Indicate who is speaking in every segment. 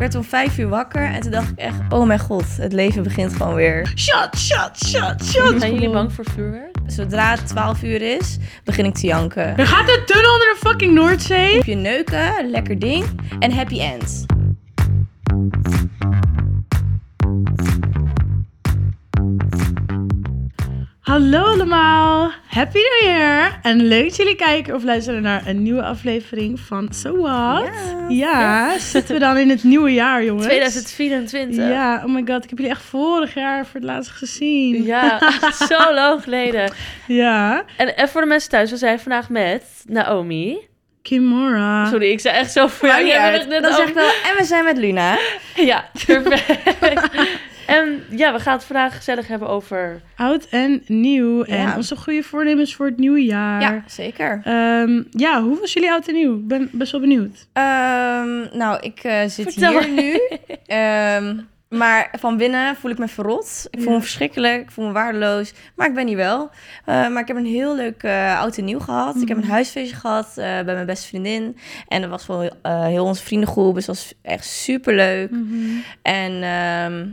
Speaker 1: werd om vijf uur wakker en toen dacht ik echt, oh mijn god, het leven begint gewoon weer. Shot, shot, shot, shot.
Speaker 2: Zijn jullie bang voor vloerwerk?
Speaker 1: Zodra het 12 uur is, begin ik te janken.
Speaker 2: Er gaat een tunnel onder de fucking Noordzee.
Speaker 1: Op je neuken, lekker ding en happy end.
Speaker 2: Hallo allemaal, happy new year. En leuk dat jullie kijken of luisteren naar een nieuwe aflevering van So What.
Speaker 1: Ja.
Speaker 2: Ja, zitten we dan in het nieuwe jaar jongens.
Speaker 3: 2024.
Speaker 2: Ja, oh my god, ik heb jullie echt vorig jaar voor het laatst gezien.
Speaker 3: Ja, zo lang geleden.
Speaker 2: Ja,
Speaker 3: En, en voor de mensen thuis, we zijn vandaag met Naomi.
Speaker 2: Kimora.
Speaker 3: Sorry, ik zei echt zo voor jou.
Speaker 1: Ah. Maakt niet
Speaker 3: Jij
Speaker 1: uit.
Speaker 3: bent net
Speaker 1: Dan zeg
Speaker 3: Naomi.
Speaker 1: ik wel, en we zijn met Luna.
Speaker 3: Ja, perfect. en ja, we gaan het vandaag gezellig hebben over...
Speaker 2: Oud en nieuw en
Speaker 1: Ja.
Speaker 2: onze goede voornemens voor het nieuwe jaar.
Speaker 1: Ja, zeker.
Speaker 2: Ehm, ja, hoe was jullie oud en nieuw? Ik ben best wel benieuwd.
Speaker 1: Ehm, nou, ik eh, zit
Speaker 3: Vertel.
Speaker 1: hier nu. Ehm, maar van binnen voel ik me verrot. Ik voel me verschrikkelijk. Ik voel me waardeloos. Maar ik ben hier wel. Eh, maar ik heb een heel leuk eh oud en nieuw gehad. Ik
Speaker 3: Mhm.
Speaker 1: heb een huisfeestje gehad eh, bij mijn beste vriendin. En dat was gewoon eh, heel onze vriendengroep. Dus dat was echt superleuk.
Speaker 3: Mhm.
Speaker 1: En ehm,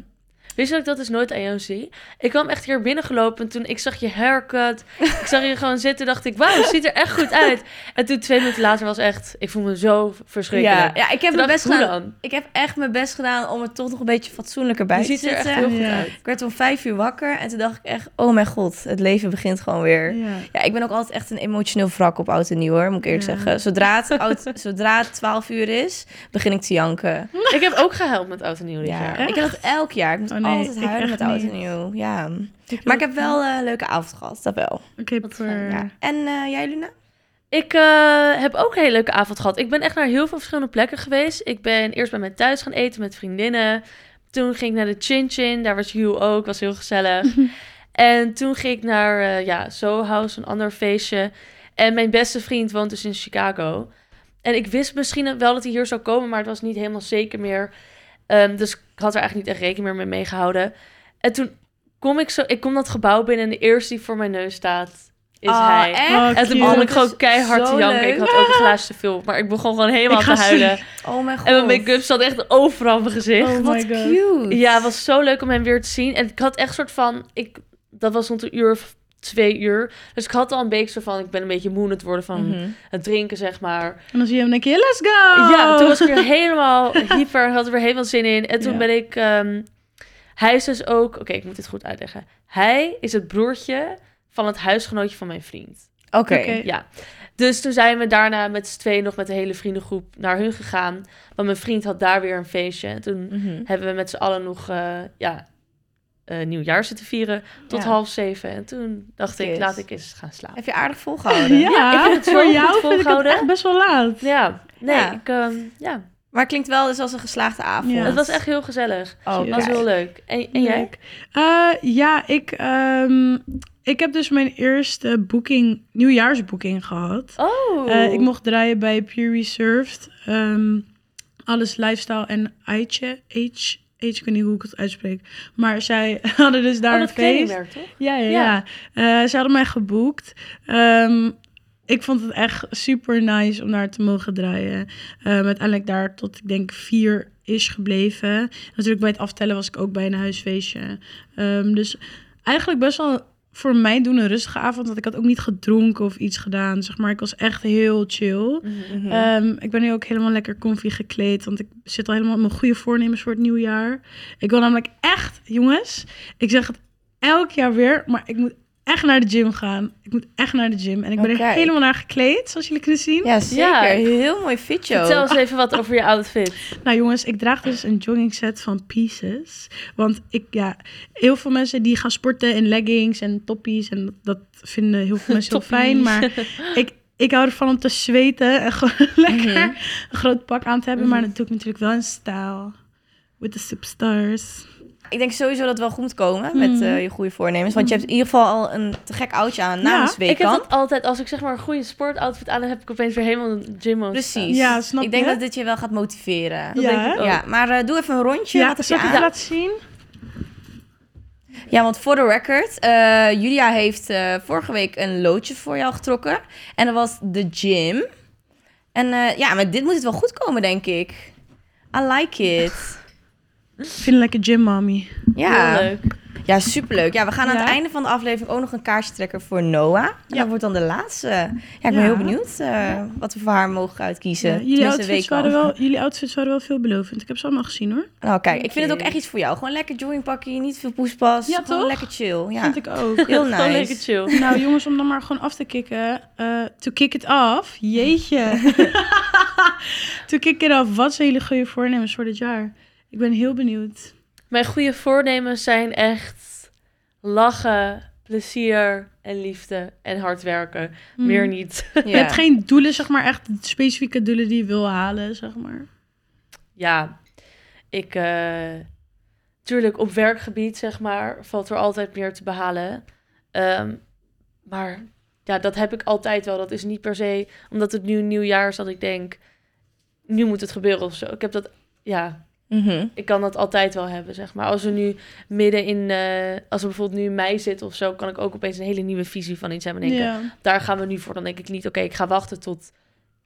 Speaker 3: Wist je dat ik dat dus nooit aan jou zie? Ik kwam echt hier binnengelopen en toen ik zag je haircut. Ik zag je gewoon zitten dacht ik, wauw, het ziet er echt goed uit. En toen twee minuten later was echt, ik voel me zo verschrikkelijk.
Speaker 1: ja, ja, ik heb
Speaker 3: Toen
Speaker 1: mijn
Speaker 3: dacht
Speaker 1: best
Speaker 3: ik, hoe
Speaker 1: gedaan.
Speaker 3: dan?
Speaker 1: Ik heb echt mijn best gedaan om er toch nog een beetje fatsoenlijker bij
Speaker 3: Je
Speaker 1: te
Speaker 3: ziet er echt
Speaker 1: zitten.
Speaker 3: heel goed
Speaker 2: Ja.
Speaker 3: uit.
Speaker 1: Ik werd om vijf uur wakker en toen dacht ik echt, oh mijn god, het leven begint gewoon weer.
Speaker 2: Ja.
Speaker 1: Ja, ik ben ook altijd echt een emotioneel wrak op oud en nieuw hoor, moet ik eerlijk
Speaker 2: Ja.
Speaker 1: zeggen. Zodra het, oud, zodra het 12 uur is, begin ik te janken.
Speaker 3: Ik heb ook gehuild met Oud en Nieuw dit
Speaker 1: Ja,
Speaker 3: jaar.
Speaker 1: ik heb dat elk jaar. Ik moet
Speaker 2: Oh, nee,
Speaker 1: altijd
Speaker 2: ik
Speaker 1: huilen
Speaker 2: echt
Speaker 1: met oud
Speaker 2: niet.
Speaker 1: en nieuw. Ja. Maar ik heb wel eh, een leuke avond gehad, dat wel.
Speaker 2: Oké,
Speaker 3: Wat
Speaker 2: per-
Speaker 3: fijn,
Speaker 1: Ja. En eh, jij Luna?
Speaker 3: Ik eh, heb ook een hele leuke avond gehad. Ik ben echt naar heel veel verschillende plekken geweest. Ik ben eerst bij mij thuis gaan eten met vriendinnen. Toen ging ik naar de Chin Chin. Daar was Hugh ook. Was heel gezellig. en toen ging ik naar eh, ja, Soho House, een ander feestje. En mijn beste vriend woont dus in Chicago. En ik wist misschien wel dat hij hier zou komen, maar het was niet helemaal zeker meer. Ehm, dus ik had er eigenlijk niet echt rekening meer mee meegehouden. En toen kom ik zo, ik kom dat gebouw binnen en de eerste die voor mijn neus staat is
Speaker 1: Oh,
Speaker 3: hij.
Speaker 1: echt?
Speaker 2: Oh,
Speaker 3: En toen
Speaker 2: Cute.
Speaker 3: begon
Speaker 1: Dat
Speaker 3: ik gewoon
Speaker 1: is
Speaker 3: keihard te
Speaker 1: zo
Speaker 3: janken.
Speaker 1: leuk.
Speaker 3: Ik had ook een glaasje te veel, maar ik begon gewoon helemaal
Speaker 2: Ik
Speaker 3: te
Speaker 2: ga
Speaker 3: huilen.
Speaker 1: Oh mijn god.
Speaker 3: En mijn make-up zat echt overal op mijn gezicht.
Speaker 2: Oh
Speaker 1: Wat
Speaker 2: my god.
Speaker 1: cute.
Speaker 3: Ja, het was zo leuk om hem weer te zien. En ik had echt soort van... Ik, dat was rond een uur of twee uur. Dus ik had al een beetje zo van... Ik ben een beetje moe aan het worden van
Speaker 1: Mhm. Oh.
Speaker 3: het drinken, zeg maar.
Speaker 2: En dan zie je hem denk je, let's go!
Speaker 3: Ja, toen was ik weer helemaal hyper. Had er weer helemaal zin in. En toen
Speaker 2: Ja.
Speaker 3: ben ik... ehm, hij is dus ook... Oké, ik moet dit goed uitleggen. Hij is het broertje van het huisgenootje van mijn vriend.
Speaker 1: Oké.
Speaker 2: Oké.
Speaker 3: Ja. Dus toen zijn we daarna met z'n tweeën nog met de hele vriendengroep naar hun gegaan. Want mijn vriend had daar weer een feestje. En toen
Speaker 1: Mhm.
Speaker 3: hebben we met z'n allen nog eh, ja, eh, nieuwjaar zitten vieren tot
Speaker 1: Ja.
Speaker 3: half zeven. En toen dacht ik,
Speaker 1: Yes.
Speaker 3: laat ik eens gaan slapen.
Speaker 1: Heb je aardig volgehouden?
Speaker 2: Ja,
Speaker 3: ik vind het zo
Speaker 2: voor
Speaker 3: goed
Speaker 2: jou vind ik het
Speaker 3: volgehouden.
Speaker 2: echt best wel laat.
Speaker 3: Ja, nee,
Speaker 1: Ja.
Speaker 3: Ik, ehm, ja.
Speaker 1: Maar het klinkt wel dus als een geslaagde avond.
Speaker 2: Ja.
Speaker 3: het was echt heel gezellig.
Speaker 1: Oh,
Speaker 2: Het
Speaker 3: Het was
Speaker 1: kijk.
Speaker 3: heel leuk. En, en jij?
Speaker 2: Leuk. Eh, ja, ik, ehm, ik heb dus mijn eerste boeking, nieuwjaarsboeking gehad.
Speaker 3: Oh,
Speaker 2: Eh, ik mocht draaien bij Pure Reserved. Ehm, alles lifestyle en Aitje. H, H, ik weet niet hoe ik het uitspreek. Maar zij hadden dus daar
Speaker 3: oh,
Speaker 2: een
Speaker 3: dat
Speaker 2: feest.
Speaker 3: kledingmerk, toch?
Speaker 2: Ja, ja,
Speaker 3: Ja.
Speaker 2: ja. Eh, ze hadden mij geboekt. Ehm, ik vond het echt super nice om daar te mogen draaien. Ehm, uiteindelijk daar tot ik denk vier is gebleven. Natuurlijk bij het aftellen was ik ook bij een huisfeestje. Ehm, dus eigenlijk best wel voor mij doen een rustige avond. Want ik had ook niet gedronken of iets gedaan. Zeg maar, ik was echt heel chill.
Speaker 1: Mhm.
Speaker 2: Ehm, ik ben nu ook helemaal lekker comfy gekleed. Want ik zit al helemaal op mijn goede voornemens voor het nieuwe jaar. Ik wil namelijk echt, jongens, ik zeg het elk jaar weer, maar ik moet echt naar de gym gaan. Ik moet echt naar de gym. En ik ben
Speaker 1: Oké.
Speaker 2: er helemaal naar gekleed, zoals jullie kunnen zien.
Speaker 1: Ja, zeker.
Speaker 3: Ja.
Speaker 1: Heel mooi fitje ook.
Speaker 3: Vertel eens even wat over je outfit.
Speaker 2: Nou jongens, ik draag dus een jogging set van Pieces. Want ik, ja, heel veel mensen die gaan sporten in leggings en toppies. En dat vinden heel veel mensen heel fijn. Maar ik, ik hou ervan om te zweten en gewoon lekker
Speaker 1: Mhm.
Speaker 2: een groot pak aan te hebben. Maar dat doe ik natuurlijk wel in stijl. With the superstars.
Speaker 1: Ik denk sowieso dat het wel goed moet komen met
Speaker 2: Mhm.
Speaker 1: eh, je goede voornemens. Want je hebt in ieder geval al een te gek oudje aan namens
Speaker 3: Ik heb
Speaker 1: Weekamp.
Speaker 3: dat altijd, als ik zeg maar een goede sportoutfit aan heb, heb ik opeens weer helemaal een gym on.
Speaker 1: Precies.
Speaker 2: Ja, snap
Speaker 1: ik denk
Speaker 2: je?
Speaker 1: dat dit je wel gaat motiveren.
Speaker 2: Ja,
Speaker 3: denk
Speaker 2: hè?
Speaker 3: ik oh, ook.
Speaker 1: Ja, maar eh, doe even een rondje.
Speaker 2: ja
Speaker 1: wat heb je
Speaker 2: zal ik het
Speaker 1: aan?
Speaker 2: laten zien?
Speaker 1: Ja, want voor de record, eh, Julia heeft eh, vorige week een loodje voor jou getrokken. En dat was de gym. En eh, ja, maar dit moet het wel goed komen, denk ik. I like it.
Speaker 2: Ik vind het lekker gym mommy.
Speaker 1: Ja,
Speaker 3: Heel leuk.
Speaker 1: ja superleuk. Ja, we gaan aan het
Speaker 2: Ja.
Speaker 1: einde van de aflevering ook nog een kaartje trekken voor Noah. En
Speaker 2: Ja.
Speaker 1: dat wordt dan de laatste. Ja, ik ben
Speaker 2: Ja.
Speaker 1: heel benieuwd eh, wat we voor haar mogen uitkiezen.
Speaker 2: Ja, jullie,
Speaker 1: Tenminste,
Speaker 2: outfits
Speaker 1: weet ik
Speaker 2: waren wel, jullie outfits waren wel veelbelovend. Ik heb ze allemaal gezien hoor.
Speaker 1: Nou, kijk, ik vind het ook
Speaker 3: Oké.
Speaker 1: echt iets voor jou. Gewoon lekker joggingpakje, niet veel poespas.
Speaker 2: Ja,
Speaker 1: gewoon
Speaker 2: toch?
Speaker 1: lekker chill. Ja.
Speaker 2: Vind ik ook.
Speaker 1: Heel
Speaker 3: Gewoon lekker
Speaker 1: nice.
Speaker 3: chill.
Speaker 2: nou jongens, om dan maar gewoon af te kicken. eh, to kick it off. Jeetje. to kick it off. Wat zijn jullie goede voornemens voor dit jaar? Ik ben heel benieuwd.
Speaker 3: Mijn goede voornemens zijn echt lachen, plezier en liefde en hard werken.
Speaker 1: Mm.
Speaker 2: Hmm.
Speaker 3: Meer niet.
Speaker 1: Ja.
Speaker 2: Je hebt geen doelen, zeg maar, echt specifieke doelen die je wil halen, zeg maar.
Speaker 3: Ja, ik... eh, tuurlijk, op werkgebied, zeg maar, valt er altijd meer te behalen. Ehm, maar ja, dat heb ik altijd wel. Dat is niet per se omdat het nu een nieuw jaar is dat ik denk... Nu moet het gebeuren of zo. Ik heb dat... Ja,
Speaker 1: Mhm.
Speaker 3: ik kan dat altijd wel hebben, zeg maar. Als we nu midden in, eh, als we bijvoorbeeld nu in mei zitten of zo, kan ik ook opeens een hele nieuwe visie van iets hebben. En denken,
Speaker 2: Ja.
Speaker 3: daar gaan we nu voor. Dan denk ik niet, oké, ik ga wachten tot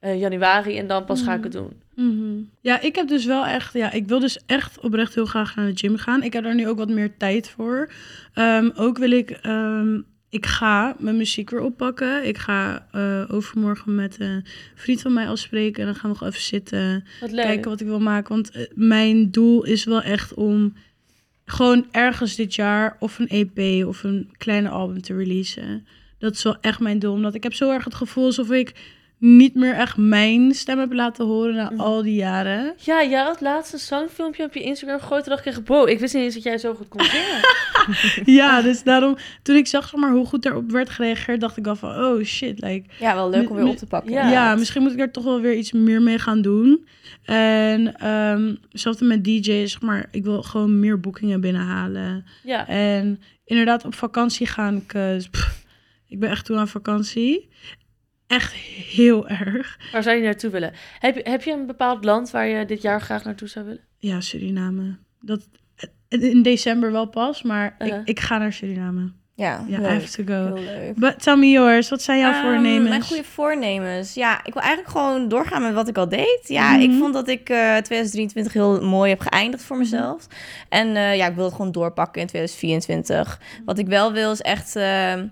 Speaker 3: eh, januari en dan pas ga ik
Speaker 1: Mm.
Speaker 3: het doen.
Speaker 2: Mhm. Ja, ik heb dus wel echt, ja, ik wil dus echt oprecht heel graag naar de gym gaan. Ik heb daar nu ook wat meer tijd voor. Ehm, ook wil ik, ehm, ik ga mijn muziek weer oppakken. Ik ga eh, overmorgen met eh, een vriend van mij afspreken en dan gaan we gewoon even zitten.
Speaker 3: Wat leuk.
Speaker 2: kijken wat ik wil maken. Want eh, mijn doel is wel echt om gewoon ergens dit jaar of een EP of een kleine album te releasen. Dat is wel echt mijn doel. Omdat ik heb zo erg het gevoel alsof ik niet meer echt mijn stem heb laten horen na al die jaren.
Speaker 3: Ja, jij had laatst een zangfilmpje op je Instagram gegooid. Toen dacht ik echt, wow, ik wist niet eens dat jij zo goed kon zingen.
Speaker 2: ja, dus daarom, toen ik zag zeg maar, hoe goed daarop werd gereageerd, dacht ik al van, oh shit, like,
Speaker 1: ja, wel leuk om weer
Speaker 2: Mi-
Speaker 1: op te pakken.
Speaker 3: Ja.
Speaker 2: Ja, misschien moet ik daar toch wel weer iets meer mee gaan doen. En ehm hetzelfde met DJ's, zeg maar, ik wil gewoon meer boekingen binnenhalen.
Speaker 3: ja,
Speaker 2: En inderdaad, op vakantie gaan ik. eh, pff, ik ben echt toe aan vakantie. Echt heel erg.
Speaker 3: waar zou je naartoe willen? Heb, je- heb je een bepaald land waar je dit jaar graag naartoe zou willen?
Speaker 2: Ja, Suriname. Dat, in december wel pas, maar
Speaker 3: Uh-huh.
Speaker 2: ik, ik ga naar Suriname.
Speaker 1: Ja,
Speaker 2: Ja, I
Speaker 1: leuk.
Speaker 2: have to go.
Speaker 1: Heel leuk.
Speaker 2: But tell me yours. Wat zijn jouw
Speaker 1: Ehm,
Speaker 2: voornemens?
Speaker 1: Mijn goede voornemens. Ja, ik wil eigenlijk gewoon doorgaan met wat ik al deed. Ja, ik
Speaker 2: Mhm.
Speaker 1: vond dat ik eh, 2023 heel mooi heb geëindigd voor mezelf. En eh, ja, ik wil het gewoon doorpakken in 2024.
Speaker 2: Mhm.
Speaker 1: Wat ik wel wil is echt eh, eh,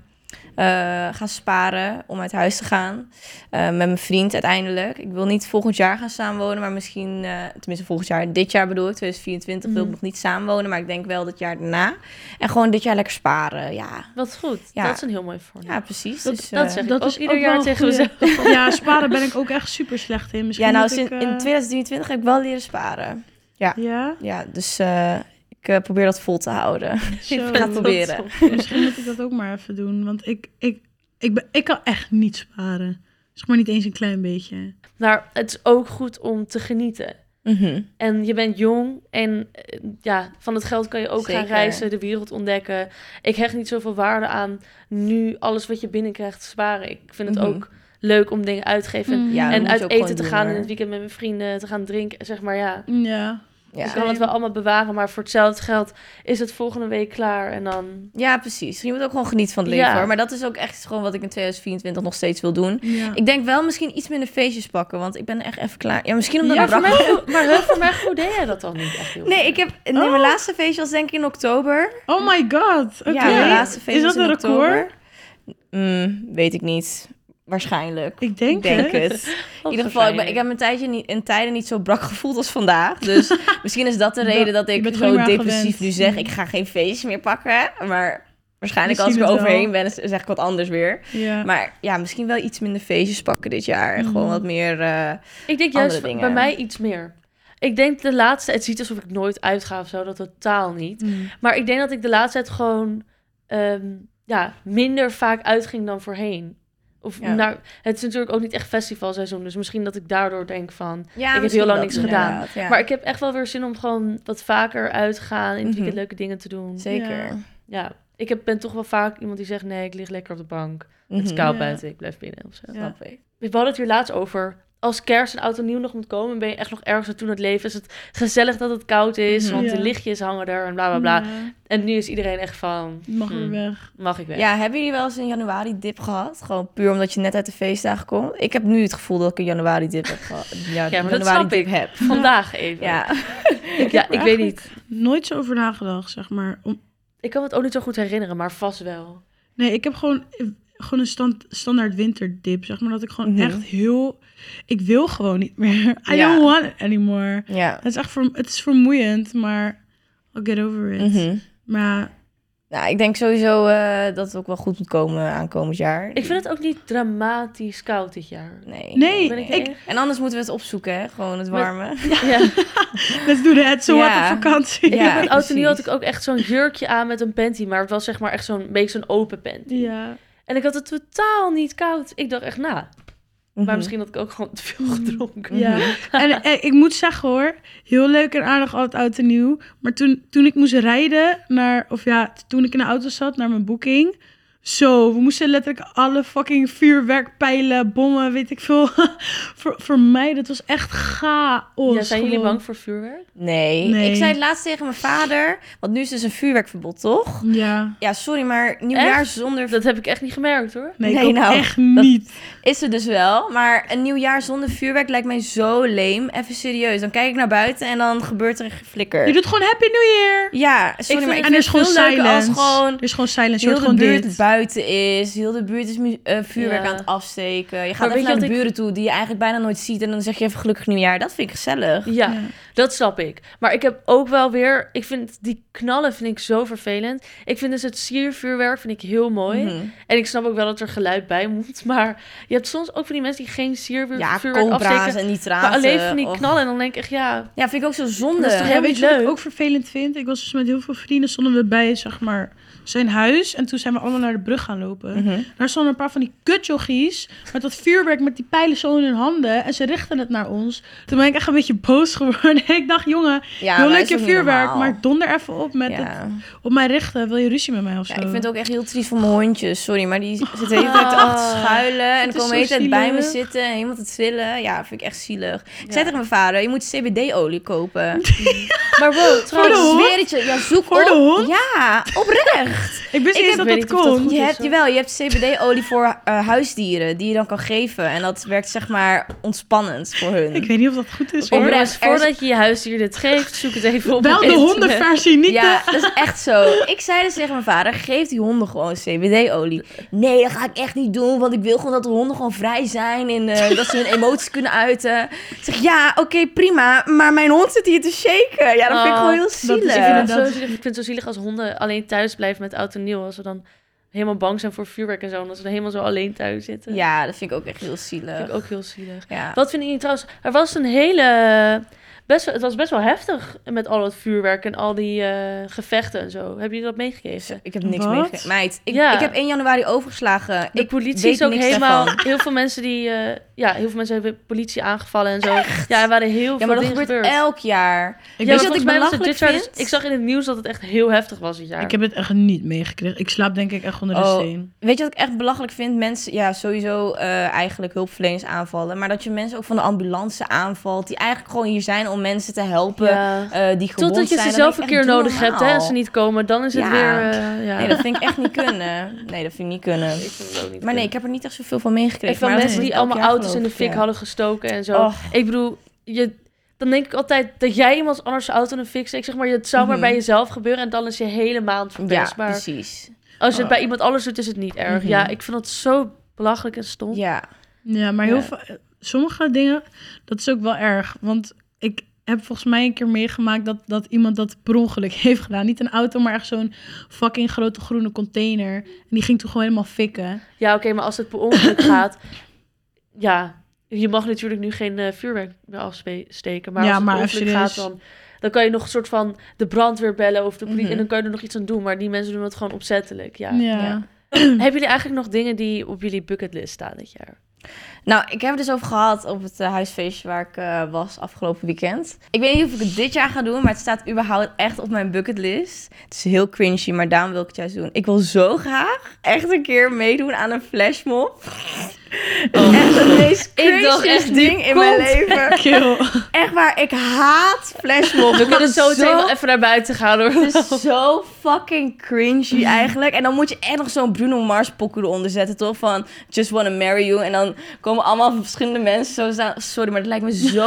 Speaker 1: gaan sparen om uit huis te gaan. Eh, met mijn vriend uiteindelijk. Ik wil niet volgend jaar gaan samenwonen, maar misschien, eh, tenminste volgend jaar, dit jaar bedoel ik, 2024 wil ik
Speaker 2: Mhm.
Speaker 1: nog niet samenwonen, maar ik denk wel dat jaar daarna. En gewoon dit jaar lekker sparen, ja.
Speaker 3: Wat goed.
Speaker 1: Ja.
Speaker 3: Dat is een heel mooi voornemen.
Speaker 1: Ja, precies.
Speaker 2: Dat-
Speaker 1: dus,
Speaker 3: dat
Speaker 1: eh,
Speaker 3: zeg ik
Speaker 2: dat
Speaker 3: ook
Speaker 2: is
Speaker 3: ieder
Speaker 2: ook
Speaker 3: jaar
Speaker 2: wel een
Speaker 3: tegen
Speaker 2: goeie.
Speaker 3: mezelf.
Speaker 2: Ja, sparen ben ik ook echt super slecht in. Misschien
Speaker 1: Ja, nou,
Speaker 2: moet
Speaker 1: sinds,
Speaker 2: ik, eh,
Speaker 1: in 2023 heb ik wel leren sparen.
Speaker 2: Ja,
Speaker 1: Ja, dus eh, ik eh, probeer dat vol te houden.
Speaker 2: zo.
Speaker 1: ga het proberen.
Speaker 2: Misschien moet ik dat ook maar even doen. Want ik, ik, ik, ben, ik kan echt niet sparen. Zeg maar niet eens een klein beetje.
Speaker 3: Maar het is ook goed om te genieten.
Speaker 1: Mhm.
Speaker 3: En je bent jong en eh, ja, van het geld kan je ook gaan
Speaker 1: Zeker.
Speaker 3: reizen, de wereld ontdekken. Ik hecht niet zoveel waarde aan nu alles wat je binnenkrijgt sparen. Ik vind het
Speaker 1: Mhm.
Speaker 3: ook leuk om dingen uit te geven.
Speaker 2: Mm.
Speaker 1: Ja, dat
Speaker 3: En
Speaker 1: moet je
Speaker 3: uit
Speaker 1: ook
Speaker 3: eten
Speaker 1: gewoon
Speaker 3: te
Speaker 1: doen,
Speaker 3: gaan
Speaker 1: hoor.
Speaker 3: in het weekend met mijn vrienden, te gaan drinken, zeg maar ja.
Speaker 2: Ja.
Speaker 1: Ja.
Speaker 3: Je kan het wel allemaal bewaren, maar voor hetzelfde geld is het volgende week klaar. En dan,
Speaker 1: ja, precies. Je moet ook gewoon genieten van het leven,
Speaker 3: Ja.
Speaker 1: hoor. Maar dat is ook echt gewoon wat ik in 2024 nog steeds wil doen.
Speaker 2: ja.
Speaker 1: Ik denk wel misschien iets minder feestjes pakken, want ik ben echt even klaar. Ja, misschien omdat
Speaker 3: ja,
Speaker 1: ik
Speaker 3: voor
Speaker 1: brak-
Speaker 3: mij, gevoel- maar hè, voor mij gevoel deed jij dat dan niet echt heel
Speaker 1: Nee,
Speaker 3: veel.
Speaker 1: ik heb... Nee, mijn
Speaker 2: Oh.
Speaker 1: laatste feestje was denk ik in oktober.
Speaker 2: Oh my god. Oké.
Speaker 1: Ja, mijn laatste feestje was
Speaker 2: Is dat een
Speaker 1: in
Speaker 2: record?
Speaker 1: oktober. Mm, weet ik niet. Waarschijnlijk.
Speaker 2: Ik denk,
Speaker 1: Ik denk
Speaker 2: het.
Speaker 1: het. In ieder geval, ik, ben- ik heb mijn tijdje niet, in tijden niet zo brak gevoeld als vandaag. Dus misschien is dat de
Speaker 2: Dat-
Speaker 1: reden dat,
Speaker 2: je
Speaker 1: ik
Speaker 2: bent
Speaker 1: zo
Speaker 2: gewoon weer
Speaker 1: depressief
Speaker 2: gewend.
Speaker 1: nu zeg... ik ga geen feestjes meer pakken. Maar waarschijnlijk als ik
Speaker 2: Misschien
Speaker 1: er
Speaker 2: het wel.
Speaker 1: overheen ben, is- zeg ik wat anders weer.
Speaker 2: Ja.
Speaker 1: Maar ja, misschien wel iets minder feestjes pakken dit jaar.
Speaker 2: Mhm.
Speaker 1: Gewoon wat meer... eh,
Speaker 3: Ik denk
Speaker 1: andere
Speaker 3: juist v- bij
Speaker 1: dingen.
Speaker 3: mij iets meer. Ik denk de laatste, het ziet alsof ik nooit uitga of zo, dat totaal niet.
Speaker 2: Mm.
Speaker 3: Maar ik denk dat ik de laatste tijd gewoon ehm, ja, minder vaak uitging dan voorheen. Of
Speaker 1: Ja.
Speaker 3: naar, het is natuurlijk ook niet echt festivalseizoen, dus misschien dat ik daardoor denk van.
Speaker 1: ja,
Speaker 3: heb
Speaker 1: misschien
Speaker 3: heel lang
Speaker 1: dat
Speaker 3: niks gedaan.
Speaker 1: inderdaad, Ja.
Speaker 3: Maar ik heb echt wel weer zin om gewoon wat vaker uit te gaan, in het weekend
Speaker 1: Mhm.
Speaker 3: leuke dingen te doen.
Speaker 1: Zeker.
Speaker 2: Ja.
Speaker 3: Ja, ik heb, ben toch wel vaak iemand die zegt: nee, ik lig lekker op de bank. Het
Speaker 1: Mhm.
Speaker 3: is koud
Speaker 2: Ja.
Speaker 3: buiten, ik blijf binnen of
Speaker 2: Ja.
Speaker 3: zo.
Speaker 1: Snap ik.
Speaker 3: We hadden het hier laatst over als kerst en oud en nieuw nog moet komen, ben je echt nog ergens naartoe aan het leven. Is het gezellig dat het koud is,
Speaker 1: Mhm.
Speaker 3: want
Speaker 2: Ja.
Speaker 3: de lichtjes hangen er en bla bla bla.
Speaker 2: Ja,
Speaker 3: En nu is iedereen echt van,
Speaker 2: mag
Speaker 3: hmm,
Speaker 1: Mm.
Speaker 2: weer weg.
Speaker 3: mag ik weg?
Speaker 1: Ja, hebben jullie wel eens een januari dip gehad? Gewoon puur omdat je net uit de feestdagen komt. Ik heb nu het gevoel dat ik een januari dip heb gehad. Ja,
Speaker 3: maar dat
Speaker 1: januari
Speaker 3: snap
Speaker 1: dip
Speaker 3: ik.
Speaker 1: heb.
Speaker 3: Vandaag even.
Speaker 1: Ja.
Speaker 3: ik, ja, ik weet niet.
Speaker 2: Nooit zo over nagedacht, zeg maar. Om,
Speaker 3: Ik kan me het ook niet zo goed herinneren, maar vast wel.
Speaker 2: Nee, ik heb gewoon, gewoon een stand, standaard winterdip, zeg maar. Dat ik gewoon
Speaker 1: Mhm.
Speaker 2: echt heel... Ik wil gewoon niet meer. I
Speaker 1: Ja.
Speaker 2: don't want it anymore.
Speaker 1: Ja.
Speaker 2: Het is echt ver, het is vermoeiend, maar I'll get over it.
Speaker 1: Mhm.
Speaker 2: Maar
Speaker 1: Nou, ik denk sowieso eh, dat het ook wel goed moet komen aankomend jaar.
Speaker 3: Ik vind het ook niet dramatisch koud dit jaar.
Speaker 1: Nee.
Speaker 2: Nee,
Speaker 3: Ben ik
Speaker 2: ik-
Speaker 3: echt-
Speaker 1: En anders moeten we het opzoeken, hè? gewoon het
Speaker 3: Maar-
Speaker 1: warme.
Speaker 3: Ja.
Speaker 2: let's do that. So what
Speaker 1: Ja.
Speaker 2: op vakantie.
Speaker 3: Ik
Speaker 1: Ja,
Speaker 3: heb met oud en nieuw had
Speaker 1: precies.
Speaker 3: ik ook echt zo'n jurkje aan met een panty, maar het was zeg maar echt zo'n beetje zo'n open panty.
Speaker 2: Ja.
Speaker 3: En ik had het totaal niet koud. Ik dacht echt, na.
Speaker 1: Mhm.
Speaker 3: Maar misschien had ik ook gewoon te veel gedronken.
Speaker 2: Ja. En, eh, ik moet zeggen hoor, heel leuk en aardig altijd oud en nieuw. Maar toen, toen ik moest rijden naar, of ja, t- toen ik in de auto zat naar mijn boeking. Zo, we moesten letterlijk alle fucking vuurwerkpijlen, bommen, weet ik veel, ver, vermijden. Het was echt chaos.
Speaker 3: Ja, zijn jullie
Speaker 2: gewoon.
Speaker 3: bang voor vuurwerk?
Speaker 1: Nee.
Speaker 2: Nee.
Speaker 1: Ik zei het laatst tegen mijn vader, want nu is dus een vuurwerkverbod, toch?
Speaker 2: Ja.
Speaker 1: Ja, sorry, maar nieuwjaar
Speaker 3: Echt?
Speaker 1: zonder...
Speaker 3: Dat heb ik echt niet gemerkt hoor.
Speaker 2: Nee,
Speaker 1: Nee,
Speaker 2: ik ook
Speaker 1: nou,
Speaker 2: echt niet.
Speaker 1: Is er dus wel, maar een nieuwjaar zonder vuurwerk lijkt mij zo leem. Even serieus, dan kijk ik naar buiten en dan gebeurt er een
Speaker 2: Je
Speaker 1: flikker.
Speaker 2: doet gewoon Happy New Year.
Speaker 1: Ja, sorry,
Speaker 3: vind-
Speaker 1: maar ik
Speaker 2: en er is
Speaker 1: vind
Speaker 2: gewoon
Speaker 1: het veel leuker als
Speaker 2: silence.
Speaker 1: gewoon...
Speaker 2: Er is gewoon silence. Je
Speaker 1: Heel
Speaker 2: hoort
Speaker 1: de
Speaker 2: gewoon
Speaker 1: buurt
Speaker 2: dit.
Speaker 1: buiten is, heel de buurt is mu- eh, vuurwerk
Speaker 3: Ja.
Speaker 1: aan het afsteken. Je
Speaker 3: Maar
Speaker 1: gaat
Speaker 3: weet je
Speaker 1: even naar
Speaker 3: wat
Speaker 1: de
Speaker 3: ik-
Speaker 1: buren toe die je eigenlijk bijna nooit ziet en dan zeg je even gelukkig nieuwjaar. Dat vind ik gezellig.
Speaker 3: Ja, dat snap ik. Maar ik heb ook wel weer... Ik vind die knallen vind ik zo vervelend. Ik vind dus het siervuurwerk vind ik heel mooi.
Speaker 1: Mhm.
Speaker 3: En ik snap ook wel dat er geluid bij moet. Maar je hebt soms ook van die mensen die geen siervuurwerk
Speaker 1: Ja,
Speaker 3: vuurwerk
Speaker 1: cobra's
Speaker 3: afsteken.
Speaker 1: en nitraten.
Speaker 3: Maar alleen van die
Speaker 1: och.
Speaker 3: knallen. En dan denk ik echt, ja...
Speaker 1: Ja, vind ik ook zo
Speaker 3: Dat is
Speaker 1: zonde.
Speaker 3: toch
Speaker 2: Ja,
Speaker 3: helemaal
Speaker 2: Eh, weet
Speaker 3: niet
Speaker 2: je wat ik
Speaker 3: leuk?
Speaker 2: ook vervelend vind? Ik was dus met heel veel vrienden, stonden we bij zeg maar, zijn huis. En toen zijn we allemaal naar de brug gaan lopen.
Speaker 1: Mhm.
Speaker 2: Daar stonden een paar van die kutjochies met dat vuurwerk met die pijlen zo in hun handen. En ze richtten het naar ons. Toen ben ik echt een beetje boos geworden. Ik dacht, jongen,
Speaker 1: Ja,
Speaker 2: heel
Speaker 1: maar
Speaker 2: leuk
Speaker 1: is
Speaker 2: je
Speaker 1: ook
Speaker 2: vuurwerk,
Speaker 1: normaal.
Speaker 2: maar donder even op met het
Speaker 1: ja.
Speaker 2: op mij richten. Wil je ruzie met mij of zo?
Speaker 1: Ja, ik vind het ook echt heel triest voor mijn hondjes. Sorry, maar die zitten de hele tijd
Speaker 3: Ah.
Speaker 1: achter te schuilen. En
Speaker 2: is
Speaker 1: dan komen
Speaker 2: zo
Speaker 1: de hele tijd bij me
Speaker 2: zielig.
Speaker 1: zitten en helemaal te trillen. Ja, vind ik echt zielig. Ik
Speaker 3: Ja.
Speaker 1: zei tegen mijn vader, je moet CBD-olie kopen.
Speaker 3: Maar wow,
Speaker 1: Ik
Speaker 3: trouwens...
Speaker 2: hond?
Speaker 1: zweer het je. Ja, zoek
Speaker 2: Voor
Speaker 1: op.
Speaker 2: de hond?
Speaker 1: Ja, oprecht.
Speaker 2: Ik wist
Speaker 3: Ik
Speaker 2: niet eens
Speaker 3: heb-
Speaker 2: dat dat
Speaker 3: weet niet of dat
Speaker 2: kon.
Speaker 3: goed
Speaker 1: je
Speaker 3: is,
Speaker 1: hebt,
Speaker 3: hoor.
Speaker 1: jawel, je hebt CBD-olie voor eh, huisdieren die je dan kan geven. En dat werkt zeg maar ontspannend voor hun.
Speaker 2: Ik weet niet of dat goed is.
Speaker 1: Oprecht,
Speaker 2: Hoor.
Speaker 3: Jongens,
Speaker 1: er is-
Speaker 3: voordat je je huisdier dit geeft, zoek het even op.
Speaker 2: Wel
Speaker 3: op
Speaker 2: de
Speaker 3: internet. Dus
Speaker 2: hondenversie, niet
Speaker 1: ja,
Speaker 2: de...
Speaker 1: dat is echt zo. Ik zei dus tegen mijn vader, geef die honden gewoon CBD-olie. Nee, dat ga ik echt niet doen, want ik wil gewoon dat de honden gewoon vrij zijn en eh, dat ze hun emoties kunnen uiten. Ik zeg, ja, oké, prima, maar mijn hond zit hier te shaken. Ja, dat vind ik
Speaker 3: Oh,
Speaker 1: gewoon heel
Speaker 2: is
Speaker 1: zielig.
Speaker 3: Ik vind,
Speaker 2: inderdaad-
Speaker 3: het zo zielig, ik vind het zo zielig als honden alleen thuis blijven met oud en nieuw. Als ze dan helemaal bang zijn voor vuurwerk en zo. En dat ze dan helemaal zo alleen thuis zitten.
Speaker 1: Ja, dat vind ik ook echt heel
Speaker 3: Dat vind
Speaker 1: zielig.
Speaker 3: ik ook heel zielig.
Speaker 1: Ja.
Speaker 3: Wat vinden jullie trouwens? Er was een hele... eh, Best, wel- het was best wel heftig met al dat vuurwerk en al die eh, gevechten en zo. Hebben jullie dat meegekregen?
Speaker 1: Ik heb niks
Speaker 2: Wat?
Speaker 1: meegekregen. Meid, ik,
Speaker 3: Ja.
Speaker 1: ik heb 1 januari overgeslagen.
Speaker 3: De
Speaker 1: ik
Speaker 3: politie
Speaker 1: weet
Speaker 3: is ook
Speaker 1: niks
Speaker 3: helemaal...
Speaker 1: daarvan.
Speaker 3: Heel veel mensen die... eh, ja, heel veel mensen hebben politie aangevallen en zo. Ja, er waren heel
Speaker 1: Ja,
Speaker 3: veel
Speaker 1: maar dat
Speaker 3: dingen
Speaker 1: gebeurt
Speaker 3: gebeurd.
Speaker 1: elk jaar.
Speaker 2: Ik
Speaker 3: ja,
Speaker 1: Weet
Speaker 2: ben-
Speaker 1: je wat ik
Speaker 3: maar volgens mij was het
Speaker 1: belachelijk
Speaker 3: dit jaar dus-
Speaker 1: vind?
Speaker 3: ik zag in het nieuws dat het echt heel heftig was dit jaar.
Speaker 2: Ik heb het echt niet meegekregen. Ik slaap denk ik echt onder de
Speaker 1: Oh,
Speaker 2: steen.
Speaker 1: Weet je wat ik echt belachelijk vind? Mensen, ja, sowieso eh, eigenlijk hulpverleners aanvallen. Maar dat je mensen ook van de ambulance aanvalt. Die eigenlijk gewoon hier zijn om mensen te helpen
Speaker 3: Ja.
Speaker 1: eh, die gewond zijn.
Speaker 3: Totdat je ze
Speaker 1: Dan
Speaker 3: zelf een
Speaker 1: denk ik
Speaker 3: keer
Speaker 1: echt,
Speaker 3: nodig
Speaker 1: doe
Speaker 3: hebt, hè.
Speaker 1: normaal.
Speaker 3: Als ze niet komen, dan is het
Speaker 1: Ja.
Speaker 3: weer... eh, ja.
Speaker 1: Nee, dat vind ik echt niet kunnen. Nee, dat vind ik niet kunnen.
Speaker 3: Ik vind het
Speaker 1: Maar
Speaker 3: ook niet
Speaker 1: nee,
Speaker 3: kunnen.
Speaker 1: ik heb er niet echt zoveel van meegekregen.
Speaker 3: En van
Speaker 1: maar dat
Speaker 3: mensen die
Speaker 1: wordt elk
Speaker 3: allemaal
Speaker 1: jaar,
Speaker 3: auto's in de
Speaker 1: geloof
Speaker 3: fik
Speaker 1: ik, ja. Oh.
Speaker 3: hadden gestoken en zo.
Speaker 1: Och.
Speaker 3: Ik bedoel, je, dan denk ik altijd dat jij iemand anders zijn auto in de fik steekt. Ik zeg maar, het zou maar
Speaker 1: Mhm.
Speaker 3: bij jezelf gebeuren en dan is je hele maand verpest.
Speaker 1: Ja,
Speaker 3: maar
Speaker 1: precies.
Speaker 3: als je het
Speaker 2: Oh.
Speaker 3: bij iemand anders doet, is het niet erg.
Speaker 1: Mhm.
Speaker 3: Ja, ik vind dat zo belachelijk en stom.
Speaker 1: Ja.
Speaker 2: Ja, maar heel
Speaker 1: Ja.
Speaker 2: veel, sommige dingen, dat is ook wel erg. Want ik heb volgens mij een keer meegemaakt dat, dat iemand dat per ongeluk heeft gedaan. Niet een auto, maar echt zo'n fucking grote groene container. En die ging toen gewoon helemaal fikken.
Speaker 3: Ja, oké, maar als het per ongeluk gaat, ja, je mag natuurlijk nu geen eh, vuurwerk meer afsteken. Maar
Speaker 2: Ja,
Speaker 3: als het
Speaker 2: maar
Speaker 3: per
Speaker 2: even
Speaker 3: ongeluk
Speaker 1: dus
Speaker 3: gaat,
Speaker 2: serieus.
Speaker 3: dan, dan kan je nog een soort van de brandweer bellen of de politie.
Speaker 1: Mhm.
Speaker 3: En dan kan je er nog iets aan doen. Maar die mensen doen het gewoon opzettelijk. Ja.
Speaker 2: Ja.
Speaker 1: ja.
Speaker 3: Hebben jullie eigenlijk nog dingen die op jullie bucketlist staan dit jaar?
Speaker 1: Nou, ik heb het dus over gehad op het eh, huisfeestje waar ik eh, was afgelopen weekend. Ik weet niet of ik het dit jaar ga doen, maar het staat überhaupt echt op mijn bucketlist. Het is heel cringy, maar daarom wil ik het juist doen. Ik wil zo graag echt een keer meedoen aan een flashmob. echt het meest
Speaker 3: Oh. Ik dacht
Speaker 1: craziest
Speaker 3: echt, die
Speaker 1: ding in mijn
Speaker 3: komt
Speaker 1: leven.
Speaker 2: Kill.
Speaker 1: Echt waar, ik haat flashmobs.
Speaker 3: We kunnen zo, meteen wel
Speaker 1: Oh, zo
Speaker 3: even naar buiten gaan hoor. Nou,
Speaker 1: Het is zo fucking cringy eigenlijk. En dan moet je echt nog zo'n Bruno Mars pokoe eronder zetten, toch? Van Just Wanna Marry You. En dan komen allemaal verschillende mensen zo staan. Sorry, maar dat lijkt me zo...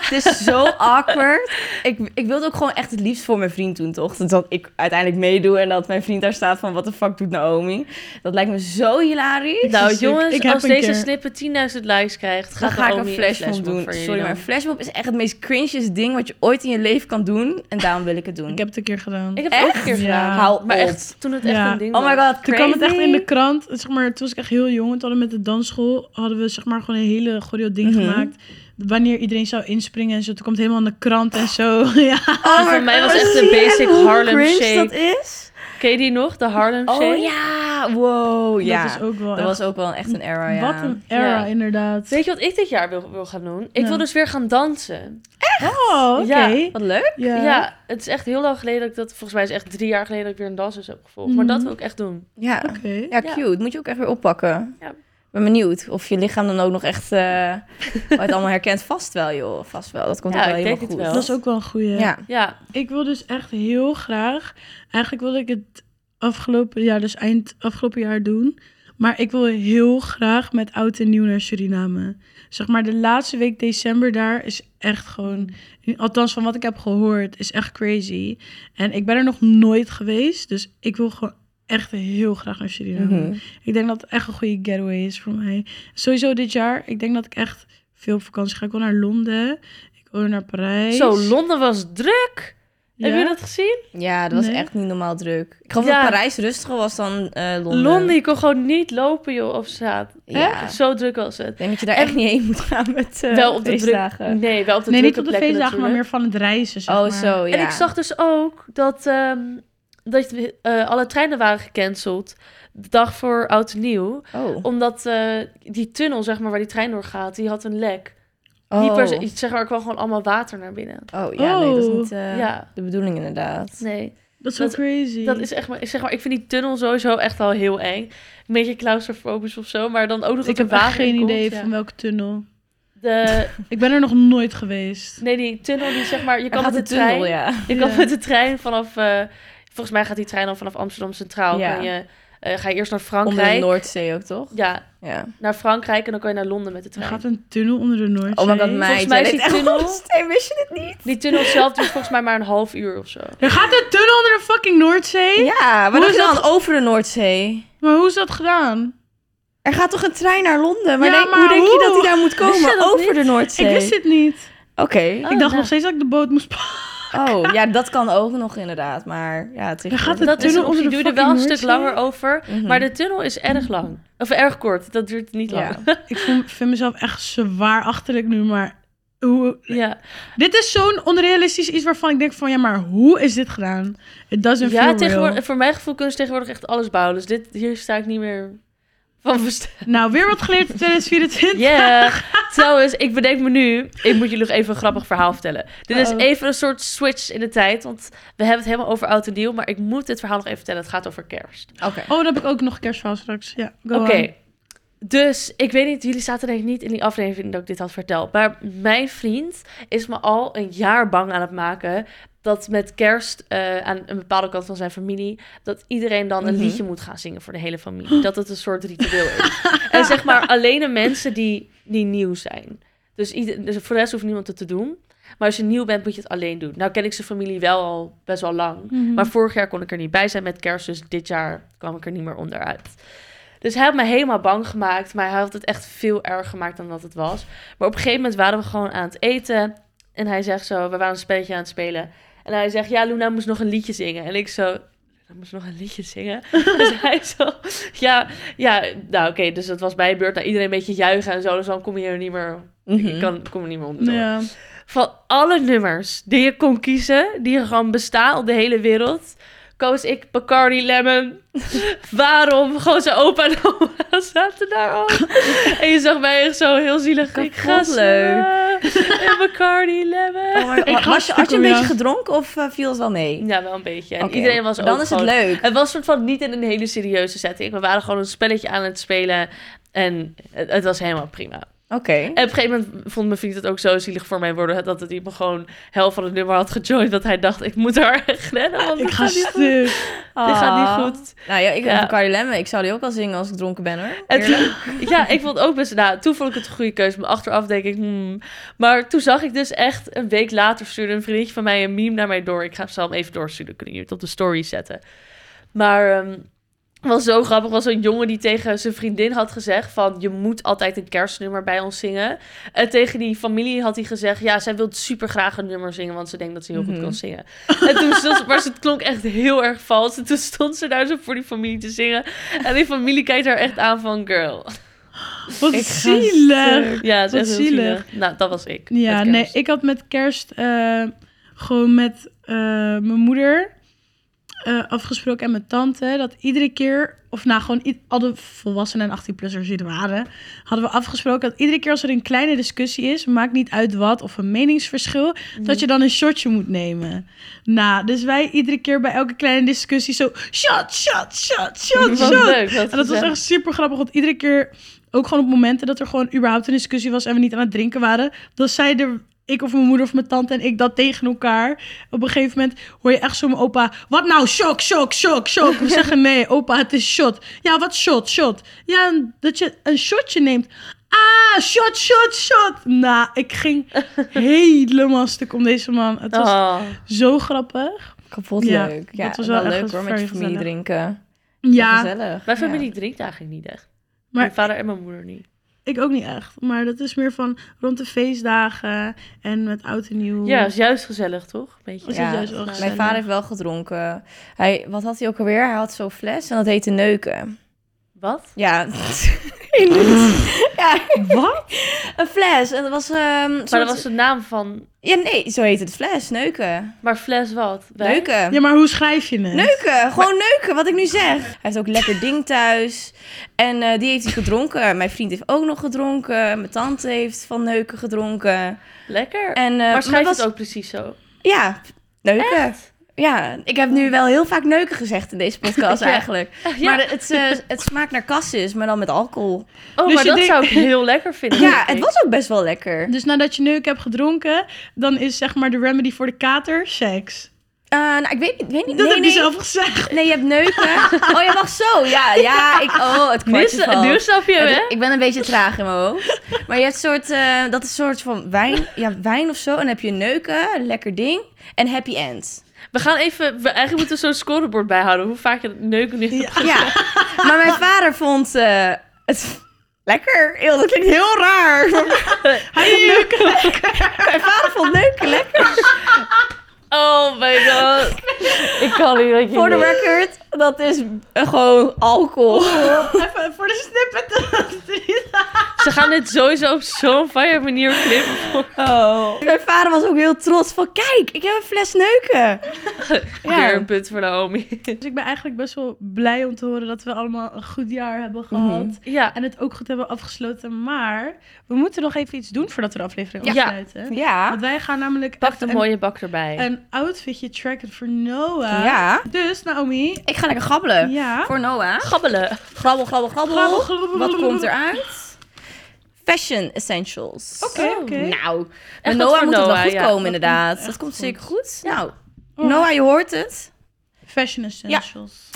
Speaker 1: het is zo awkward. Ik, ik wilde ook gewoon echt het liefst voor mijn vriend doen, toch? Dat ik uiteindelijk meedoe en dat mijn vriend daar staat van... Wat de fuck doet Naomi? Dat lijkt me zo hilarisch.
Speaker 3: Nou
Speaker 2: Precies.
Speaker 3: jongens,
Speaker 2: Ik heb
Speaker 3: als
Speaker 2: een
Speaker 3: deze
Speaker 2: keer-
Speaker 3: slipper 10.000 likes krijgt,
Speaker 1: Dan
Speaker 3: gaat
Speaker 1: ga ik
Speaker 3: Naomi
Speaker 1: een flashmob doen.
Speaker 3: voor jullie
Speaker 1: Sorry, maar
Speaker 3: doen.
Speaker 1: een flashmob is echt het meest cringiest ding... wat je ooit in je leven kan doen. En daarom wil ik het doen.
Speaker 2: Ik heb het een keer gedaan.
Speaker 3: Ik heb het ook een
Speaker 1: Echt?
Speaker 3: keer
Speaker 2: Ja.
Speaker 3: gedaan.
Speaker 1: Hou
Speaker 3: maar
Speaker 1: op.
Speaker 3: echt, toen het echt
Speaker 2: Ja.
Speaker 3: een ding was.
Speaker 1: Oh my god,
Speaker 2: Toen kwam het echt in de
Speaker 1: crazy.
Speaker 2: krant. Zeg maar, toen was ik echt heel jong. Toen hadden we met de dansschool hadden we zeg maar gewoon een hele choreo ding
Speaker 1: Mhm.
Speaker 2: gemaakt. Wanneer iedereen zou inspringen en zo. Toen komt het helemaal in de krant en zo. ja.
Speaker 1: Oh
Speaker 3: voor
Speaker 1: my
Speaker 3: mij
Speaker 1: God,
Speaker 3: was echt de
Speaker 1: zie je
Speaker 3: basic
Speaker 1: hoe
Speaker 3: Harlem
Speaker 1: cringe
Speaker 3: Shake.
Speaker 1: dat is?
Speaker 3: Ken je die nog? De Harlem Shake?
Speaker 1: Oh ja, wow, ja.
Speaker 2: Dat is ook wel
Speaker 1: Dat
Speaker 2: echt-
Speaker 1: was ook wel echt een era, ja.
Speaker 2: Wat een era,
Speaker 3: Ja.
Speaker 2: inderdaad.
Speaker 3: Weet je wat ik dit jaar wil, wil gaan doen? Ik
Speaker 2: Nou.
Speaker 3: wil dus weer gaan dansen.
Speaker 2: Oh, oké.
Speaker 3: Ja.
Speaker 1: Wat leuk.
Speaker 3: Ja.
Speaker 2: Ja.
Speaker 3: het is echt heel lang geleden dat ik dat... Volgens mij is echt drie jaar geleden dat ik weer een dansles heb gevolgd. Maar
Speaker 2: Mhm.
Speaker 3: dat wil ik echt doen.
Speaker 1: Ja.
Speaker 2: Oké.
Speaker 1: ja,
Speaker 3: Ja.
Speaker 1: cute. Moet je ook echt weer oppakken.
Speaker 3: Ja.
Speaker 1: Ik ben benieuwd of je lichaam dan ook nog echt eh, het allemaal herkent. Vast wel, joh. Vast wel. Dat komt
Speaker 3: Ja,
Speaker 1: ook wel
Speaker 3: ik
Speaker 1: helemaal
Speaker 3: denk
Speaker 1: goed.
Speaker 3: het wel.
Speaker 2: Dat is ook wel een goede.
Speaker 1: Ja.
Speaker 3: Ja,
Speaker 2: Ik wil dus echt heel graag. Eigenlijk wilde ik het afgelopen jaar, dus eind afgelopen jaar doen. Maar ik wil heel graag met oud en nieuw naar Suriname. Zeg maar, de laatste week december daar is echt gewoon. Althans, van wat ik heb gehoord, is echt crazy. En ik ben er nog nooit geweest. Dus ik wil gewoon echt heel graag naar Suriname.
Speaker 1: Mhm.
Speaker 2: Ik denk dat het echt een goede getaway is voor mij. Sowieso dit jaar. Ik denk dat ik echt veel op vakantie ga. Ik wil naar Londen. Ik wil naar Parijs.
Speaker 3: zo, Londen was druk.
Speaker 2: Ja.
Speaker 3: Heb je dat gezien?
Speaker 1: Ja, dat was
Speaker 2: Nee.
Speaker 1: echt niet normaal druk. Ik geloof
Speaker 3: Ja.
Speaker 1: dat Parijs rustiger was dan eh, Londen.
Speaker 3: Londen. je kon gewoon niet lopen joh, op straat.
Speaker 1: Ja.
Speaker 3: Echt? Zo druk was
Speaker 1: Ik
Speaker 3: het.
Speaker 1: denk dat je daar
Speaker 3: En-
Speaker 1: echt niet heen moet gaan met eh
Speaker 3: wel op de
Speaker 1: feestdagen.
Speaker 3: druk... Nee, wel op de
Speaker 2: Nee, niet
Speaker 3: drukke
Speaker 2: op de
Speaker 3: plekken
Speaker 2: feestdagen, maar
Speaker 3: natuurlijk.
Speaker 2: meer van het reizen. Zeg
Speaker 1: Oh,
Speaker 2: maar.
Speaker 1: zo, ja.
Speaker 3: En ik zag dus ook dat, ehm, dat eh, alle treinen waren gecanceld. De dag voor oud en nieuw.
Speaker 1: Oh.
Speaker 3: Omdat eh, die tunnel, zeg maar, waar die trein door gaat, die had een lek. Niet
Speaker 1: Oh.
Speaker 3: per se, zeg maar, er kwam gewoon allemaal water naar binnen.
Speaker 1: Oh, ja, nee, dat is niet eh,
Speaker 3: Ja.
Speaker 1: de bedoeling inderdaad.
Speaker 3: Nee.
Speaker 2: Dat is wel
Speaker 3: Dat-
Speaker 2: crazy.
Speaker 3: Dat is echt, maar, zeg maar, ik vind die tunnel sowieso echt al heel eng. Een beetje claustrofobisch of zo, maar dan ook nog
Speaker 2: ik
Speaker 3: dat er
Speaker 2: heb echt
Speaker 3: water in
Speaker 2: geen
Speaker 3: komt,
Speaker 2: idee
Speaker 3: ja.
Speaker 2: van welke tunnel.
Speaker 3: De,
Speaker 2: Ik ben er nog nooit geweest.
Speaker 3: nee, die tunnel die zeg maar, je
Speaker 1: Er
Speaker 3: kan met de
Speaker 1: gaat een tunnel,
Speaker 3: trein,
Speaker 1: ja.
Speaker 3: je kan
Speaker 2: Ja.
Speaker 3: met de trein vanaf, eh, volgens mij gaat die trein dan vanaf Amsterdam Centraal.
Speaker 1: Ja.
Speaker 3: Kan je, eh, ga je eerst naar
Speaker 1: Onder de
Speaker 3: Frankrijk.
Speaker 1: Noordzee ook, toch?
Speaker 3: ja,
Speaker 1: Ja.
Speaker 3: naar Frankrijk en dan kan je naar Londen met de
Speaker 2: Er
Speaker 3: trein.
Speaker 2: gaat een tunnel onder de Noordzee.
Speaker 1: Oh my god, meid.
Speaker 3: mij is
Speaker 1: jij
Speaker 3: die
Speaker 1: deed echt
Speaker 3: tunnel-
Speaker 1: alles. Nee, wist je dit niet?
Speaker 3: Die tunnel zelf duurt volgens mij maar een half uur of zo.
Speaker 2: Er gaat een tunnel onder de fucking Noordzee?
Speaker 1: Ja, maar
Speaker 2: Hoe
Speaker 1: dat
Speaker 2: is
Speaker 1: is dan over de Noordzee.
Speaker 2: Maar hoe is dat gedaan?
Speaker 1: Er gaat toch een trein naar Londen? Maar,
Speaker 2: Ja,
Speaker 1: denk-
Speaker 2: maar
Speaker 1: hoe denk je dat
Speaker 2: hoe?
Speaker 1: die daar moet
Speaker 3: Wist je
Speaker 1: komen?
Speaker 3: dat
Speaker 1: Over
Speaker 3: niet?
Speaker 1: de Noordzee.
Speaker 2: Ik wist dit niet.
Speaker 1: Oké.
Speaker 3: Oh,
Speaker 2: ik dacht
Speaker 3: nou.
Speaker 2: nog steeds dat ik de boot moest pakken.
Speaker 1: Oh, ja, dat kan ook nog inderdaad. Maar ja, het is...
Speaker 2: Er gaat een
Speaker 3: Dat is
Speaker 2: tunnel
Speaker 3: een optie.
Speaker 2: onder de
Speaker 3: Doe er wel een
Speaker 2: fucking Hmm.
Speaker 3: stuk
Speaker 2: Noordzee?
Speaker 3: langer over.
Speaker 1: Mhm.
Speaker 3: Maar de tunnel is erg lang. Of erg kort. Dat duurt niet lang.
Speaker 1: Ja.
Speaker 3: Ja.
Speaker 2: Ik voel- vind mezelf echt zwaar achterlijk nu, maar... Hoe... Dit is zo'n onrealistisch iets waarvan ik denk van... Ja, maar hoe is dit gedaan? It doesn't feel
Speaker 3: Ja,
Speaker 2: real.
Speaker 3: tegenwoordig, voor mijn gevoel kunnen ze tegenwoordig echt alles bouwen. Dus dit, hier sta ik niet meer van versteld.
Speaker 2: Nou, weer wat geleerd in 2024.
Speaker 3: Yeah. Trouwens, ik bedenk me nu... Ik moet jullie nog even een grappig verhaal vertellen. Dit is
Speaker 2: Uh-oh.
Speaker 3: even een soort switch in de tijd. Want we hebben het helemaal over oud en nieuw. Maar ik moet dit verhaal nog even vertellen. Het gaat over kerst.
Speaker 1: Oké.
Speaker 2: Oh, dan heb ik ook nog een kerstverhaal straks. Ja, go
Speaker 3: Oké.
Speaker 2: on.
Speaker 3: Dus ik weet niet, jullie zaten denk ik niet in die aflevering dat ik dit had verteld. Maar mijn vriend is me al een jaar bang aan het maken. Dat met kerst eh, aan een bepaalde kant van zijn familie. dat iedereen dan een
Speaker 1: Mhm.
Speaker 3: liedje moet gaan zingen voor de hele familie. Dat het een soort ritueel is. en zeg maar alleen de mensen die, die nieuw zijn. Dus, ieder, dus voor de rest hoeft niemand het te doen. Maar als je nieuw bent, moet je het alleen doen. Nou ken ik zijn familie wel al best wel lang.
Speaker 2: Mhm.
Speaker 3: Maar vorig jaar kon ik er niet bij zijn met kerst, dus dit jaar kwam ik er niet meer onderuit. Dus hij had me helemaal bang gemaakt, maar hij had het echt veel erger gemaakt dan dat het was. Maar op een gegeven moment waren we gewoon aan het eten en hij zegt zo, we waren een spelletje aan het spelen. En hij zegt, ja, Luna moest nog een liedje zingen. En ik zo, Luna moest nog een liedje zingen? dus hij zo, ja, ja, nou oké, dus dat was mijn beurt. Nou, iedereen een beetje juichen en zo, dus dan kom je er niet meer,
Speaker 1: Mhm.
Speaker 3: ik kan, kom er niet meer onder
Speaker 2: Mhm. Ja.
Speaker 3: van alle nummers die je kon kiezen, die er gewoon bestaan op de hele wereld, koos ik Bacardi Lemon. Waarom? Gewoon zijn opa en oma zaten daar al. en je zag mij echt zo heel zielig. Ik ga
Speaker 1: Kapot leuk.
Speaker 3: leuk. En Bacardi Lemon.
Speaker 1: Oh, maar, was, je, had je een
Speaker 2: om jou.
Speaker 1: beetje gedronken of eh, viel het wel mee?
Speaker 3: Ja, wel een beetje. En
Speaker 1: Oké.
Speaker 3: iedereen was ook
Speaker 1: Dan is het
Speaker 3: gewoon-
Speaker 1: leuk.
Speaker 3: Het was soort van niet in een hele serieuze setting. We waren gewoon een spelletje aan het spelen. En het, het was helemaal prima.
Speaker 1: Oké.
Speaker 3: En op een gegeven moment vond mijn vriend het ook zo zielig voor mij worden... dat het iemand gewoon helft van het nummer had gejoind... dat hij dacht, ik moet haar echt redden, want
Speaker 2: Ik
Speaker 3: dit
Speaker 2: ga
Speaker 3: gaat niet goed.
Speaker 2: stuk.
Speaker 3: Dit gaat
Speaker 1: Ah.
Speaker 3: niet goed.
Speaker 1: Nou ja, ik
Speaker 3: Ja.
Speaker 1: heb Cardi Lemmen. Ik zou die ook al zingen als ik dronken ben hoor.
Speaker 3: En toen-
Speaker 1: Eerlijk.
Speaker 3: ja, ik vond het ook best... Nou, toen vond ik het een goede keuze. Maar achteraf denk ik... hmm. Maar toen zag ik dus echt... Een week later stuurde een vriendje van mij een meme naar mij door. Ik ga, zal hem even doorsturen. Kunnen jullie het op de story zetten. Maar... ehm het was zo grappig, was een jongen die tegen zijn vriendin had gezegd van... je moet altijd een kerstnummer bij ons zingen. En tegen die familie had hij gezegd... ja, zij wil super graag een nummer zingen... want ze denkt dat ze heel goed
Speaker 1: Mhm.
Speaker 3: kan zingen. En toen stond ze, maar ze- het klonk echt heel erg vals. En toen stond ze daar zo voor die familie te zingen. En die familie kijkt haar echt aan van... girl,
Speaker 2: Wat
Speaker 1: Ik ga
Speaker 2: zielig.
Speaker 3: ja, het is
Speaker 2: Wat
Speaker 3: echt heel
Speaker 2: zielig.
Speaker 3: zielig. Nou, dat was ik.
Speaker 2: Ja,
Speaker 3: met
Speaker 2: nee,
Speaker 3: kerst.
Speaker 2: ik had met kerst eh, gewoon met eh, mijn moeder eh, afgesproken en mijn tante dat iedere keer, of nou gewoon i- alle volwassenen en 18-plussers die er waren, hadden we afgesproken dat iedere keer als er een kleine discussie is, maakt niet uit wat of een meningsverschil,
Speaker 3: Mhm.
Speaker 2: dat je dan een shotje moet nemen. Nou, dus wij iedere keer bij elke kleine discussie zo shot, shot, shot, shot,
Speaker 3: Wat
Speaker 2: shot.
Speaker 3: leuk. Dat
Speaker 2: En dat was echt super grappig, want iedere keer, ook gewoon op momenten dat er gewoon überhaupt een discussie was en we niet aan het drinken waren, dan zeiden ik of mijn moeder of mijn tante en ik dat tegen elkaar. Op een gegeven moment hoor je echt zo mijn opa, wat nou, shock, shock, shock, shock. We zeggen nee, opa, het is shot. Ja, wat shot, shot. Ja, en dat je een shotje neemt. Ah, shot, shot, shot. Nou, ik ging helemaal stuk om deze man. Het was
Speaker 3: Oh.
Speaker 2: zo grappig.
Speaker 1: Kapot
Speaker 2: Ja,
Speaker 1: leuk. Ja,
Speaker 2: dat was wel
Speaker 1: wel,
Speaker 2: echt
Speaker 1: leuk hoor, met
Speaker 2: very
Speaker 1: je familie
Speaker 2: gezellig.
Speaker 1: drinken.
Speaker 2: Ja,
Speaker 1: Gezellig.
Speaker 3: Mijn
Speaker 1: ja.
Speaker 3: familie drinkt eigenlijk niet echt.
Speaker 2: Maar-
Speaker 3: Mijn vader en mijn moeder niet.
Speaker 2: Ik ook niet echt. Maar dat is meer van rond de feestdagen en met oud en nieuw.
Speaker 1: Mm.
Speaker 3: Ja, is juist gezellig, toch? Beetje.
Speaker 2: Was
Speaker 1: Ja,
Speaker 2: het juist wel gezellig.
Speaker 1: Mijn vader heeft wel gedronken. Hij, wat had hij ook alweer? Hij had zo'n fles en dat heette neuken.
Speaker 3: Wat?
Speaker 1: Ja. In het- ja,
Speaker 2: Wat?
Speaker 1: een fles. En dat was... ehm
Speaker 3: Maar
Speaker 1: soort-
Speaker 3: dat was de naam van...
Speaker 1: Ja, nee, zo heette het fles. Neuken.
Speaker 3: Maar fles wat? Wij?
Speaker 1: Neuken.
Speaker 2: Ja, maar hoe schrijf je het?
Speaker 1: Neuken, gewoon neuken, wat ik nu zeg. Hij heeft ook lekker ding thuis. En eh, die heeft hij gedronken. Mijn vriend heeft ook nog gedronken. Mijn tante heeft van neuken gedronken.
Speaker 3: Lekker.
Speaker 1: En, eh,
Speaker 3: maar schrijf
Speaker 1: dat
Speaker 3: het ook precies zo.
Speaker 1: Ja, neuken. Ja, ik heb nu wel heel vaak neuken gezegd in deze podcast
Speaker 3: Ja.
Speaker 1: eigenlijk.
Speaker 3: Ja,
Speaker 1: Maar de- het, eh, het smaakt naar kassis, maar dan met alcohol.
Speaker 3: oh,
Speaker 2: dus
Speaker 3: maar
Speaker 2: je
Speaker 3: dat
Speaker 2: denkt-
Speaker 3: zou ik heel lekker vinden.
Speaker 1: Ja,
Speaker 3: denk
Speaker 1: het
Speaker 3: ik.
Speaker 1: was ook best wel lekker.
Speaker 2: Dus nadat je neuk hebt gedronken, dan is zeg maar de remedy voor de kater seks.
Speaker 1: Eh, nou, ik weet niet. Weet niet
Speaker 2: Dat
Speaker 1: nee,
Speaker 2: heb
Speaker 1: nee.
Speaker 2: je zelf gezegd.
Speaker 1: Nee, je hebt neuken. Oh, je mag zo. Ja, ja. Ik, oh, het
Speaker 3: Nu,
Speaker 1: kwartje
Speaker 3: sna-
Speaker 1: valt.
Speaker 3: nu snap je hem, hè?
Speaker 1: Het- Ik ben een beetje traag in mijn hoofd. Maar je hebt soort, eh, dat is soort van wijn, ja, wijn of zo. En dan heb je neuken, lekker ding en happy end.
Speaker 3: We gaan even... We, eigenlijk moeten we zo'n scorebord bijhouden. Hoe vaak je neuken nu... Ja.
Speaker 1: Ja, maar mijn vader vond eh, het lekker. Eeuw, dat klinkt heel raar.
Speaker 2: Hij had neuken.
Speaker 1: mijn vader vond neuken lekker.
Speaker 3: Oh my god. ik kan niet dat je...
Speaker 1: Voor de record, dat is eh, gewoon alcohol.
Speaker 2: Even voor de snippet.
Speaker 3: Ze gaan dit sowieso op zo'n fire manier knippen.
Speaker 1: Oh. Mijn vader was ook heel trots van, kijk, ik heb een fles neuken.
Speaker 3: Ja. Weer een punt voor Naomi.
Speaker 2: Dus ik ben eigenlijk best wel blij om te horen dat we allemaal een goed jaar hebben
Speaker 1: Mhm.
Speaker 2: gehad.
Speaker 3: Ja.
Speaker 2: En het ook goed hebben afgesloten. Maar we moeten nog even iets doen voordat we de aflevering
Speaker 3: Ja.
Speaker 2: afsluiten.
Speaker 1: Ja,
Speaker 2: Want wij gaan namelijk
Speaker 3: Pak
Speaker 2: echt
Speaker 3: een
Speaker 2: een-
Speaker 3: mooie bak erbij.
Speaker 2: een outfitje tracken voor Noah.
Speaker 1: ja.
Speaker 2: Dus Naomi,
Speaker 1: Ik ga lekker grabbelen.
Speaker 2: ja.
Speaker 1: Eh, Voor Noah.
Speaker 3: Gabbelen.
Speaker 1: Grabbel, grabbel, grabbel.
Speaker 2: Grabbel, grabbel,
Speaker 1: Wat
Speaker 2: grabbel.
Speaker 1: komt eruit? Fashion essentials.
Speaker 2: Oké,
Speaker 3: Oh,
Speaker 2: oké.
Speaker 1: Nou,
Speaker 3: wat
Speaker 1: en Noah
Speaker 3: voor
Speaker 1: moet het wel
Speaker 3: Noah,
Speaker 1: goed
Speaker 3: ja.
Speaker 1: komen inderdaad.
Speaker 2: echt
Speaker 1: Dat komt
Speaker 2: goed.
Speaker 1: zeker goed. Nou,
Speaker 2: Alright.
Speaker 1: Noah, je hoort het.
Speaker 2: Fashion essentials.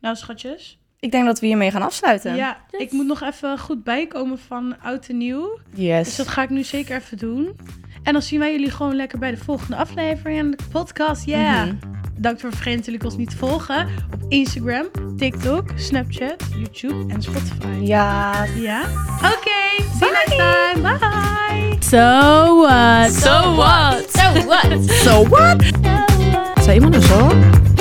Speaker 2: Nou, schatjes.
Speaker 1: Ik denk dat we hiermee gaan afsluiten.
Speaker 2: Ja,
Speaker 3: Yes.
Speaker 2: ik moet nog even goed bijkomen van oud en nieuw. Dus
Speaker 1: Yes.
Speaker 2: dat ga ik nu zeker even doen. En dan zien wij jullie gewoon lekker bij de volgende aflevering en de podcast. Yeah. Dank voor vergeet natuurlijk ons niet te volgen op Instagram, TikTok, Snapchat, YouTube en Spotify.
Speaker 1: Ja.
Speaker 2: Ja? Oké, see you next time. Bye.
Speaker 4: So what?
Speaker 3: À, So what?
Speaker 4: So what? So what? Zou iemand een zo?